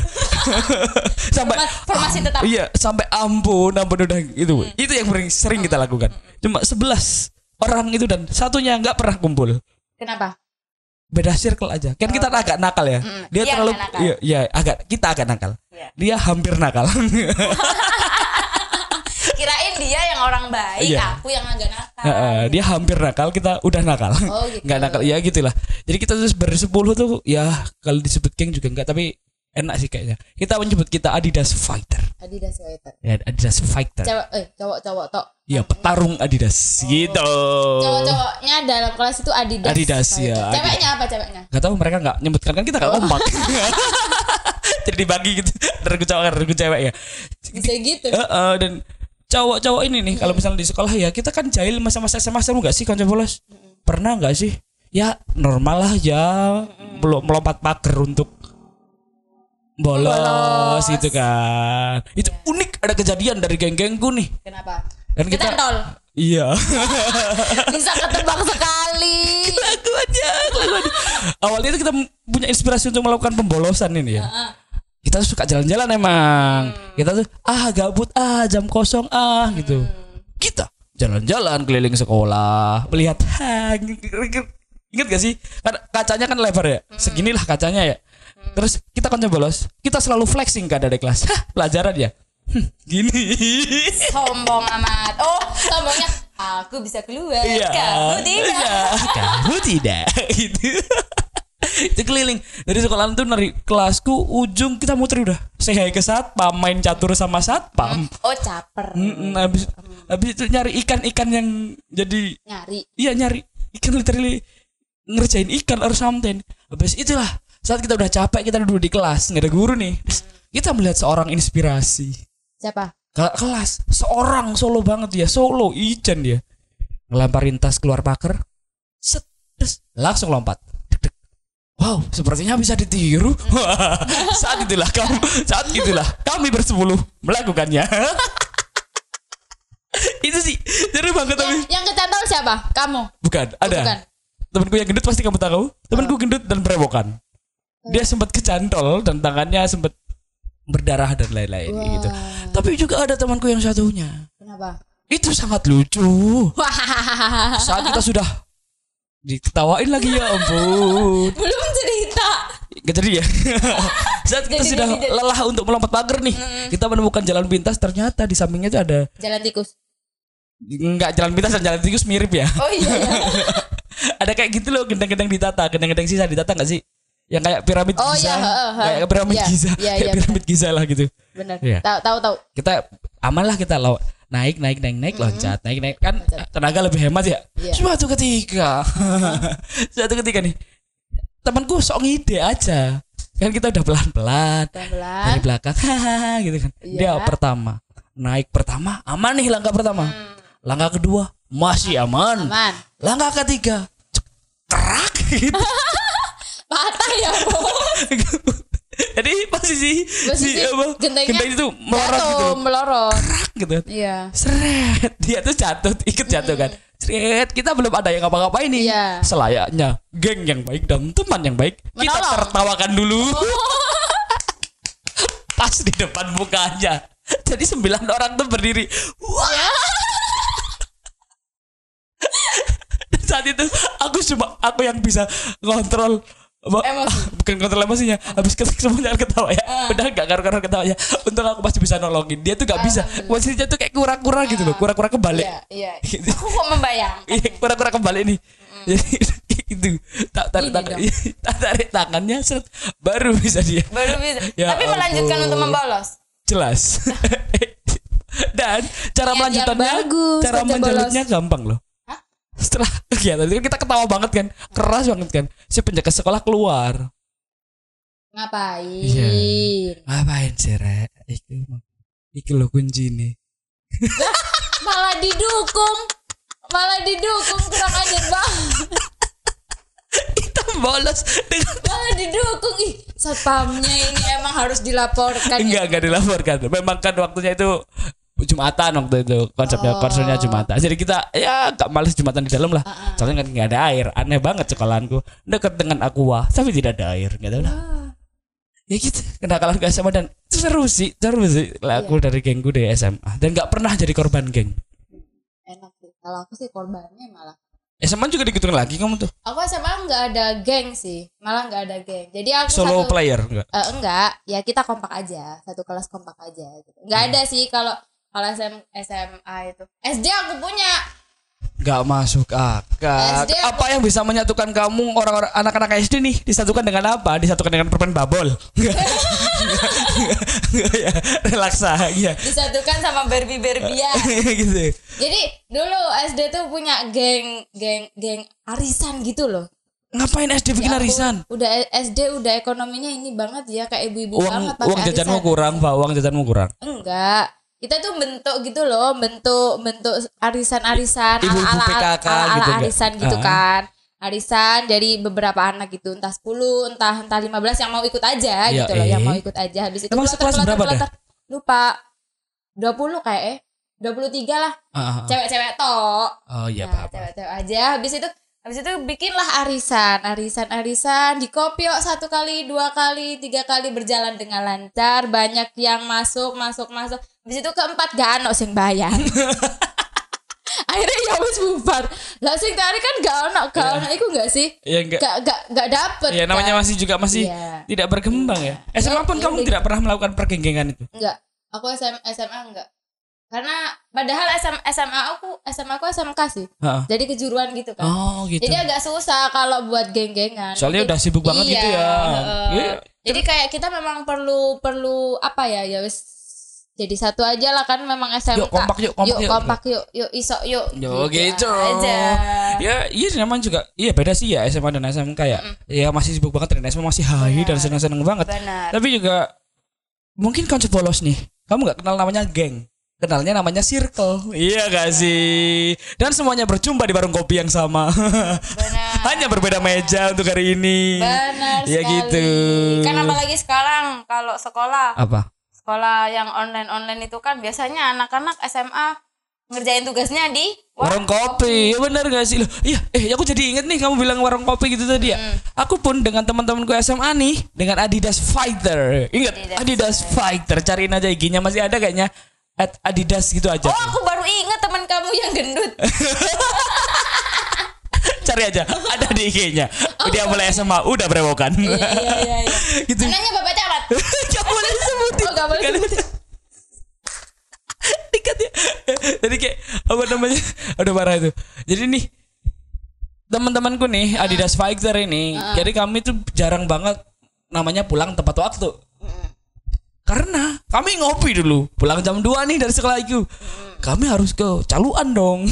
[SPEAKER 1] sampai
[SPEAKER 3] Forma- formasi tetap Hmm.
[SPEAKER 1] Iya, sampai ampun, ampun udah gitu. Itu yang sering, sering kita lakukan. Cuma 11 orang itu dan satunya nggak pernah kumpul.
[SPEAKER 2] kenapa
[SPEAKER 1] Beda circle aja. Kan kita agak nakal ya. Dia
[SPEAKER 3] Iya,
[SPEAKER 1] terlalu
[SPEAKER 3] Oh. agak nakal.
[SPEAKER 1] iya, iya, agak kita agak nakal.
[SPEAKER 3] Iya.
[SPEAKER 1] Dia hampir nakal.
[SPEAKER 3] kirain dia yang orang baik
[SPEAKER 1] Iya.
[SPEAKER 3] aku yang agak nakal
[SPEAKER 1] Heeh, dia hampir nakal, kita udah nakal.
[SPEAKER 2] Oh, gitu.
[SPEAKER 1] Nggak nakal, ya gitulah. Jadi kita terus bersepuluh tuh ya kalau disebut geng juga enggak, tapi enak sih kayaknya. Kita menyebut kita Adidas Fighter.
[SPEAKER 2] Adidas sweater
[SPEAKER 1] Ya, Adidas Fighter.
[SPEAKER 2] cewek eh cowok cowok tok
[SPEAKER 1] Ya, petarung Adidas
[SPEAKER 2] Oh.
[SPEAKER 1] gitu.
[SPEAKER 2] cowok-cowoknya dalam kelas itu Adidas
[SPEAKER 1] Adidas,
[SPEAKER 2] sweater.
[SPEAKER 1] ya,
[SPEAKER 2] ceweknya apa ceweknya
[SPEAKER 1] Gak tahu mereka gak nyebutkan kan kita gak kompak. Jadi dibagi gitu. Tergu cowok, tergu cewek ya.
[SPEAKER 2] bisa gitu
[SPEAKER 1] Eh, eh, dan
[SPEAKER 2] Iya.
[SPEAKER 1] cowok-cowok ini nih kalau misalnya di sekolah ya kita kan jahil masa-masa SMA seru gak sih kanca bolos? Pernah gak sih? ya normal lah ya melo- melompat pagar untuk bolos,
[SPEAKER 2] Bolos.
[SPEAKER 1] gitu kan itu unik ada kejadian dari geng-gengku nih
[SPEAKER 2] Kenapa?
[SPEAKER 1] dan
[SPEAKER 2] Kita
[SPEAKER 1] kita,
[SPEAKER 2] tol.
[SPEAKER 1] iya
[SPEAKER 2] Bisa ketebak sekali.
[SPEAKER 1] kelakuannya kelakuannya. awalnya itu kita punya inspirasi untuk melakukan pembolosan ini ya kita suka jalan-jalan emang kita tuh ah gabut ah jam kosong ah gitu kita jalan-jalan keliling sekolah melihat hang ingat gak sih kan kacanya kan lebar ya seginilah kacanya ya terus kita kan bolos kita selalu flexing kan dari kelas Hah, pelajaran ya Hmm, gini
[SPEAKER 2] Sombong amat. Oh, sombongnya aku bisa keluar. Kamu tidak.
[SPEAKER 1] Iya. Kamu tidak. gitu. Itu keliling dari sekolah itu dari kelasku ujung kita muter udah. Saya ke satpam, main catur sama satpam.
[SPEAKER 2] Oh, caper.
[SPEAKER 1] Mm, habis habis itu nyari ikan-ikan yang jadi
[SPEAKER 2] Nyari.
[SPEAKER 1] iya nyari ikan literally ngerjain ikan or something. Habis itulah saat kita udah capek kita duduk di kelas nggak ada guru nih. Terus Kita melihat seorang inspirasi
[SPEAKER 2] Siapa?
[SPEAKER 1] ke kelas seorang solo banget dia solo Ijen dia ngelamparin tas keluar pagar set terus langsung lompat Dek, dek. wow sepertinya bisa ditiru saat itulah kamu saat itulah kami bersepuluh melakukannya itu sih seru banget tapi
[SPEAKER 2] Yang kecantol siapa? Kamu.
[SPEAKER 1] bukan ada
[SPEAKER 2] Bukan.
[SPEAKER 1] temanku yang gendut pasti kamu tahu temanku gendut dan berewokan dia sempat kecantol dan tangannya sempat berdarah dan lain-lain kayak gitu tapi juga ada temanku yang satunya
[SPEAKER 2] Kenapa?
[SPEAKER 1] itu sangat lucu saat kita sudah diketawain lagi ya ampun
[SPEAKER 2] Belum cerita.
[SPEAKER 1] gak jadi ya saat kita
[SPEAKER 2] Jadi,
[SPEAKER 1] sudah
[SPEAKER 2] jadi, jadi.
[SPEAKER 1] lelah untuk melompat pagar nih kita menemukan jalan pintas ternyata di sampingnya itu ada
[SPEAKER 2] Jalan tikus.
[SPEAKER 1] nggak jalan pintas dan jalan tikus mirip ya
[SPEAKER 2] Oh iya. iya.
[SPEAKER 1] ada kayak gitu loh gendang-gendang ditata gendang-gendang sisa ditata nggak sih yang kayak piramid
[SPEAKER 2] Oh,
[SPEAKER 1] Giza
[SPEAKER 2] iya, heeh, heeh.
[SPEAKER 1] kayak piramid
[SPEAKER 2] Iya,
[SPEAKER 1] Giza
[SPEAKER 2] iya,
[SPEAKER 1] kayak
[SPEAKER 2] iya,
[SPEAKER 1] piramid Giza lah gitu
[SPEAKER 2] Benar.
[SPEAKER 1] Iya.
[SPEAKER 2] Tahu tahu tahu.
[SPEAKER 1] kita aman lah kita lo naik naik naik naik loncat naik naik kan
[SPEAKER 2] Mm-hmm. Loncat.
[SPEAKER 1] tenaga lebih hemat ya
[SPEAKER 2] Iya.
[SPEAKER 1] suatu ketika suatu ketika nih temanku sok ngide aja kan kita udah pelan pelan dari
[SPEAKER 2] Pelan-pelan.
[SPEAKER 1] belakang hahaha gitu kan
[SPEAKER 2] Iya.
[SPEAKER 1] dia pertama naik pertama aman nih langkah pertama langkah kedua masih aman,
[SPEAKER 2] Hmm. Aman.
[SPEAKER 1] langkah ketiga cek, kerak gitu
[SPEAKER 2] Patah ya, Bu.
[SPEAKER 1] jadi posisi,
[SPEAKER 2] Posisi
[SPEAKER 1] si apa
[SPEAKER 2] gentengnya
[SPEAKER 1] genteng itu melorot
[SPEAKER 2] Jatuh,
[SPEAKER 1] gitu
[SPEAKER 2] melorot.
[SPEAKER 1] kerak gitu
[SPEAKER 2] Iya.
[SPEAKER 1] seret dia tuh jatuh ikut jatuh kan seret kita belum ada yang ngapa-ngapain nih
[SPEAKER 2] Iya.
[SPEAKER 1] selayaknya geng yang baik dan teman yang baik kita
[SPEAKER 2] Menolong.
[SPEAKER 1] tertawakan dulu pas di depan mukanya jadi sembilan orang tuh berdiri wah
[SPEAKER 2] Iya.
[SPEAKER 1] Dan saat itu aku cuma aku yang bisa ngontrol apa-
[SPEAKER 2] Emosi. Ah.
[SPEAKER 1] bukan kontrol emosinya habis ketek semuanya ketawa ya udah gak karu-karu ketawa ya untung aku masih bisa nolongin dia tuh gak bisa posisinya tuh kayak kurang-kurang gitu loh kurang-kurang kebalik
[SPEAKER 2] Iya, iya.
[SPEAKER 1] Gitu.
[SPEAKER 2] Aku kok membayang.
[SPEAKER 1] Iya, kurang-kurang kebalik nih jadi gitu tak tarik
[SPEAKER 2] Ini
[SPEAKER 1] tangan
[SPEAKER 2] dong.
[SPEAKER 1] tak tarik tangannya seret, baru bisa dia
[SPEAKER 2] Baru bisa.
[SPEAKER 1] Ya
[SPEAKER 2] Tapi melanjutkan
[SPEAKER 1] ampun.
[SPEAKER 2] untuk membolos.
[SPEAKER 1] jelas dan cara
[SPEAKER 2] Niat yang
[SPEAKER 1] melanjutannya
[SPEAKER 2] Iya, bagus,
[SPEAKER 1] cara
[SPEAKER 2] kerja
[SPEAKER 1] menjalutnya gampang loh
[SPEAKER 2] Hah?
[SPEAKER 1] setelah kegiatan itu kita ketawa banget kan keras banget kan si penjaga sekolah keluar
[SPEAKER 2] Ngapain?
[SPEAKER 1] Iya. ngapain sih rek Iku mah- Iku lo kunci nih
[SPEAKER 2] Malah didukung. Malah didukung kurang ajar banget.
[SPEAKER 1] kita bolos dengan
[SPEAKER 2] Malah didukung. Ih, satpamnya ini emang harus dilaporkan. ya.
[SPEAKER 1] enggak enggak dilaporkan memang kan waktunya itu jumatan waktu itu konsepnya konsepnya jumatan jadi kita ya gak males jumatan di dalam lah soalnya kan nggak ada air aneh banget sekolahanku dekat dengan aqua tapi tidak ada air nggak tahu lah
[SPEAKER 2] Ah,
[SPEAKER 1] ya gitu kenakalan ke SMA dan seru sih seru sih lah aku dari gengku dari SMA dan nggak pernah jadi korban geng
[SPEAKER 2] Enak sih. Kalau aku sih korbannya malah.
[SPEAKER 1] SMA juga digituin lagi kamu tuh
[SPEAKER 2] Aku SMA nggak ada geng sih. Malah nggak ada geng. Jadi aku
[SPEAKER 1] solo
[SPEAKER 2] satu,
[SPEAKER 1] player enggak
[SPEAKER 2] Eh, enggak, ya kita kompak aja, satu kelas kompak aja gitu.
[SPEAKER 1] Hmm.
[SPEAKER 2] Enggak ada sih kalau kalau SM, SMA itu. SD aku punya.
[SPEAKER 1] nggak masuk akal
[SPEAKER 2] SD aku-
[SPEAKER 1] apa yang bisa menyatukan kamu orang-orang anak-anak SD nih disatukan dengan apa disatukan dengan permen babol Nggak. Nggak, nggak, ya. relaksa ya
[SPEAKER 2] Disatukan sama Barbie-Barbian.
[SPEAKER 1] gitu
[SPEAKER 2] Jadi dulu SD tuh punya geng geng geng arisan gitu loh.
[SPEAKER 1] ngapain SD bikin
[SPEAKER 2] Ya ampun,
[SPEAKER 1] arisan
[SPEAKER 2] Udah SD udah ekonominya ini banget ya kayak ibu-ibu banget
[SPEAKER 1] uang
[SPEAKER 2] pakai
[SPEAKER 1] uang jajanmu
[SPEAKER 2] arisan.
[SPEAKER 1] kurang pak uang jajanmu kurang
[SPEAKER 2] Enggak. Kita tuh bentuk gitu loh, bentuk bentuk arisan-arisan
[SPEAKER 1] Ibu-ibu
[SPEAKER 2] ala-ala
[SPEAKER 1] PKK
[SPEAKER 2] ala-ala
[SPEAKER 1] gitu enggak?
[SPEAKER 2] arisan gitu
[SPEAKER 1] Ah.
[SPEAKER 2] kan. arisan dari beberapa anak gitu entah 10 entah entah 15 yang mau ikut aja
[SPEAKER 1] Ya,
[SPEAKER 2] gitu loh
[SPEAKER 1] eh.
[SPEAKER 2] yang mau ikut aja habis itu
[SPEAKER 1] Emang
[SPEAKER 2] keloter,
[SPEAKER 1] sekelas
[SPEAKER 2] keloter,
[SPEAKER 1] berapa dah?
[SPEAKER 2] keloter. lupa 20 kayak eh 23 lah
[SPEAKER 1] Ah, ah, ah.
[SPEAKER 2] cewek-cewek tok
[SPEAKER 1] oh iya
[SPEAKER 2] Nah,
[SPEAKER 1] apa-apa.
[SPEAKER 2] cewek-cewek aja habis itu habis itu bikinlah arisan arisan arisan di kopiok satu kali dua kali tiga kali berjalan dengan lancar banyak yang masuk masuk masuk habis itu keempat gak anak sing bayar akhirnya ya wis bubar lah sing tarik kan gak anak gak anak iku gak sih
[SPEAKER 1] Ya enggak.
[SPEAKER 2] gak gak gak dapet
[SPEAKER 1] Ya namanya
[SPEAKER 2] kan?
[SPEAKER 1] masih juga masih
[SPEAKER 2] Iya.
[SPEAKER 1] tidak berkembang ya. SMA pun
[SPEAKER 2] Ya,
[SPEAKER 1] kamu
[SPEAKER 2] ya.
[SPEAKER 1] tidak pernah melakukan pergenggengan itu.
[SPEAKER 2] enggak aku SM, SMA enggak karena padahal SM, SMA aku SMA aku SMK sih
[SPEAKER 1] Heeh.
[SPEAKER 2] jadi kejuruan gitu kan
[SPEAKER 1] Oh gitu.
[SPEAKER 2] Jadi agak susah kalau buat geng-gengan.
[SPEAKER 1] Soalnya
[SPEAKER 2] Jadi-
[SPEAKER 1] udah sibuk banget
[SPEAKER 2] Iya,
[SPEAKER 1] gitu ya.
[SPEAKER 2] heeh.
[SPEAKER 1] Iya.
[SPEAKER 2] Jadi kayak kita memang perlu perlu apa ya ya wis jadi satu aja lah kan memang SMK.
[SPEAKER 1] Yuk kompak yuk, kompak
[SPEAKER 2] yuk.
[SPEAKER 1] yuk.
[SPEAKER 2] kompak yuk, yuk isok yuk.
[SPEAKER 1] Yo gitu.
[SPEAKER 2] Aja.
[SPEAKER 1] Ya, iya namanya juga. Iya beda sih ya SMA dan SMK ya. Ya masih sibuk banget dan SMA masih hai dan seneng-seneng banget.
[SPEAKER 3] benar
[SPEAKER 1] Tapi juga mungkin konsep bolos nih. Kamu nggak kenal namanya geng. Kenalnya namanya circle. Iya gak sih? Dan semuanya berjumpa di warung kopi yang sama.
[SPEAKER 3] benar
[SPEAKER 1] Hanya berbeda meja untuk hari ini.
[SPEAKER 2] Benar
[SPEAKER 1] Ya
[SPEAKER 2] sekali.
[SPEAKER 1] gitu.
[SPEAKER 3] kan apalagi sekarang kalau sekolah
[SPEAKER 1] Apa?
[SPEAKER 3] sekolah yang online online itu kan biasanya anak-anak SMA ngerjain tugasnya di
[SPEAKER 1] Warung kopi, ya benar gak sih? Loh, iya, eh aku jadi inget nih kamu bilang warung kopi gitu tadi ya. Aku pun dengan teman-temanku SMA nih dengan Adidas Fighter. Ingat Adidas,
[SPEAKER 3] Adidas
[SPEAKER 1] Fighter, cariin aja IG-nya masih ada kayaknya. At Adidas gitu aja.
[SPEAKER 3] oh aku baru ingat teman kamu yang gendut
[SPEAKER 1] Cari aja, ada di IG-nya. Dia mulai SMA, udah berewokan.
[SPEAKER 2] Iya iya iya. iya.
[SPEAKER 1] gitu.
[SPEAKER 2] Anaknya Bapak Camat.
[SPEAKER 1] Gak boleh sebutin.
[SPEAKER 2] Oh,
[SPEAKER 1] Kan
[SPEAKER 2] gak boleh sebutin.
[SPEAKER 1] Dikat ya. Jadi kayak apa namanya? Udah parah itu. Jadi nih teman-temanku nih Adidas Fighter ini. Jadi kami tuh jarang banget namanya pulang tepat waktu. Karena kami ngopi dulu. Pulang jam 2 nih dari sekolah itu. Kami harus ke Caluan dong.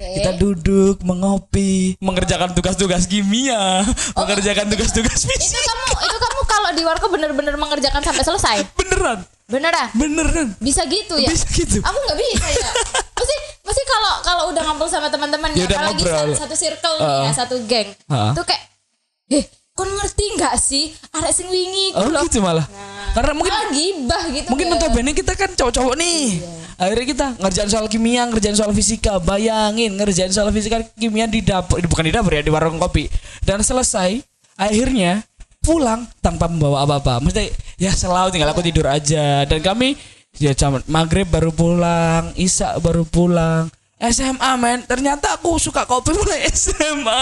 [SPEAKER 1] Kita duduk mengopi, mengerjakan tugas-tugas kimia, mengerjakan tugas-tugas
[SPEAKER 2] Itu
[SPEAKER 1] fisika.
[SPEAKER 2] kamu itu kamu kalau di warkop bener-bener mengerjakan sampai selesai.
[SPEAKER 1] Beneran,
[SPEAKER 2] Beneran?
[SPEAKER 1] beneran.
[SPEAKER 2] Bisa gitu ya?
[SPEAKER 1] Bisa gitu.
[SPEAKER 2] aku nggak bisa ya mesti mesti kalau kalau udah ngumpul sama teman-teman
[SPEAKER 1] Ya
[SPEAKER 2] ya
[SPEAKER 1] udah
[SPEAKER 2] apalagi
[SPEAKER 1] ngobrol.
[SPEAKER 2] satu, satu circle nih ya
[SPEAKER 1] Heeh.
[SPEAKER 2] satu geng
[SPEAKER 1] Heeh.
[SPEAKER 2] tuh kayak eh kon ngerti nggak sih arek sing wingi
[SPEAKER 1] Oh gitu malah. Karena mungkin
[SPEAKER 2] malah gibah gitu
[SPEAKER 1] mungkin
[SPEAKER 2] ya. Iya.
[SPEAKER 1] notabene kita kan cowok-cowok nih. Akhirnya kita ngerjain soal kimia, ngerjain soal fisika. Bayangin ngerjain soal fisika kimia di dapur, eh, bukan di dapur ya, di warung kopi. Dan selesai akhirnya pulang tanpa membawa apa-apa. Mesti ya selalu tinggal
[SPEAKER 2] Iya.
[SPEAKER 1] aku tidur aja. Dan kami ya jam maghrib baru pulang, isak baru pulang. SMA men, ternyata aku suka kopi mulai SMA.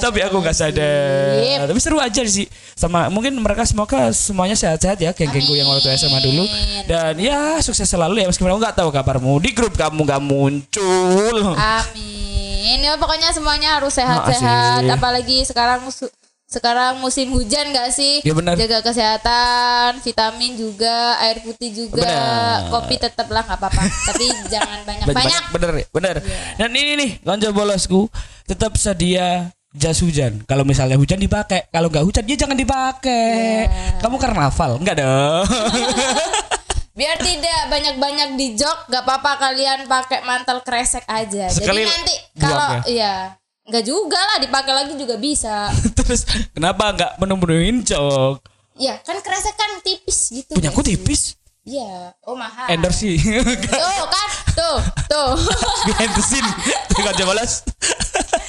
[SPEAKER 1] Tapi aku nggak sadar. Tapi seru aja sih. Sama mungkin mereka semoga semuanya sehat-sehat ya geng-gengku yang waktu SMA dulu. Dan ya sukses selalu ya meskipun aku nggak tahu kabarmu di grup kamu nggak muncul.
[SPEAKER 2] Ah, amin ya pokoknya semuanya harus
[SPEAKER 1] Makasih.
[SPEAKER 2] sehat-sehat apalagi sekarang musu- sekarang musim hujan nggak sih
[SPEAKER 1] Ya, benar.
[SPEAKER 2] jaga kesehatan vitamin juga air putih juga
[SPEAKER 1] Benar.
[SPEAKER 2] kopi tetap lah nggak apa-apa tapi jangan banyak-banyak
[SPEAKER 1] Banyak-banyak, bener ya, bener. Dan ini nih lonjo bolosku tetap sedia jas hujan. Kalau misalnya hujan dipakai, kalau nggak hujan ya jangan dipakai. Kamu karnaval nggak dong?
[SPEAKER 2] Biar tidak banyak-banyak di jok, gak apa-apa kalian pakai mantel kresek aja.
[SPEAKER 1] Sekali
[SPEAKER 2] Jadi nanti
[SPEAKER 1] buang
[SPEAKER 2] kalau
[SPEAKER 1] ya?
[SPEAKER 2] iya, nggak juga lah dipakai lagi juga bisa.
[SPEAKER 1] Terus kenapa nggak menemuin cok?
[SPEAKER 2] Ya kan kresek kan tipis gitu.
[SPEAKER 1] Punya Eh, aku
[SPEAKER 2] nggak sih?
[SPEAKER 1] tipis.
[SPEAKER 2] Iya, oh mahal.
[SPEAKER 1] Endorse sih.
[SPEAKER 2] Tuh kan, tuh, tuh.
[SPEAKER 1] Endosin. Tukang balas.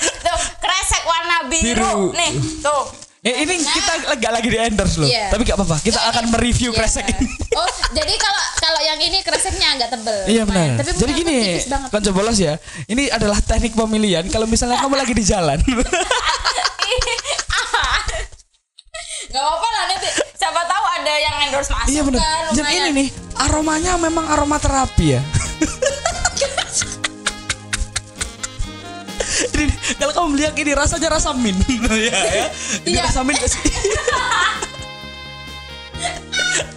[SPEAKER 3] tuh kresek warna
[SPEAKER 1] Biru.
[SPEAKER 3] biru, nih tuh
[SPEAKER 1] Eh ini kita nggak lagi di endorse loh.
[SPEAKER 2] Nah. Iya.
[SPEAKER 1] Tapi nggak apa-apa. Kita akan mereview kresek
[SPEAKER 3] Iya.
[SPEAKER 1] ini.
[SPEAKER 2] Oh, jadi kalau kalau yang ini kreseknya agak tebel.
[SPEAKER 1] Iya benar.
[SPEAKER 2] lumayan. Tapi
[SPEAKER 1] Jadi
[SPEAKER 2] punya aku
[SPEAKER 1] gini,
[SPEAKER 2] tipis banget.
[SPEAKER 1] konco bolos ya. Ini adalah teknik pemilihan kalau misalnya kamu lagi di jalan.
[SPEAKER 3] nggak apa-apa lah nanti siapa tahu ada yang endorse masuk
[SPEAKER 1] iya benar.
[SPEAKER 3] kan,
[SPEAKER 1] Dan
[SPEAKER 3] lumayan.
[SPEAKER 1] ini nih aromanya memang aroma terapi ya. Jadi, kalau kamu melihat ini rasanya rasa min. ya, ya. Ini
[SPEAKER 2] Iya.
[SPEAKER 1] rasa min gak sih?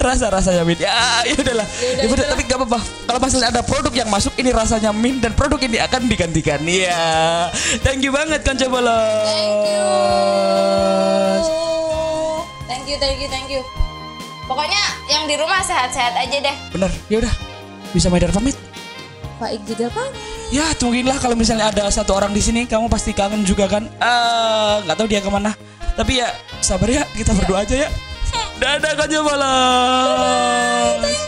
[SPEAKER 1] rasa rasanya min ya ya udahlah ya udah tapi gak apa-apa kalau misalnya ada produk yang masuk ini rasanya min dan produk ini akan digantikan iya thank you banget kan coba
[SPEAKER 2] Thank you. Thank you, thank you, thank you.
[SPEAKER 3] pokoknya yang di rumah sehat-sehat aja deh
[SPEAKER 1] bener ya udah bisa main pamit
[SPEAKER 2] Pak Ik juga pamit.
[SPEAKER 1] ya mungkinlah kalau misalnya ada satu orang di sini kamu pasti kangen juga kan eh nggak tahu dia kemana tapi ya sabar ya kita berdoa aja ya dadah kan malam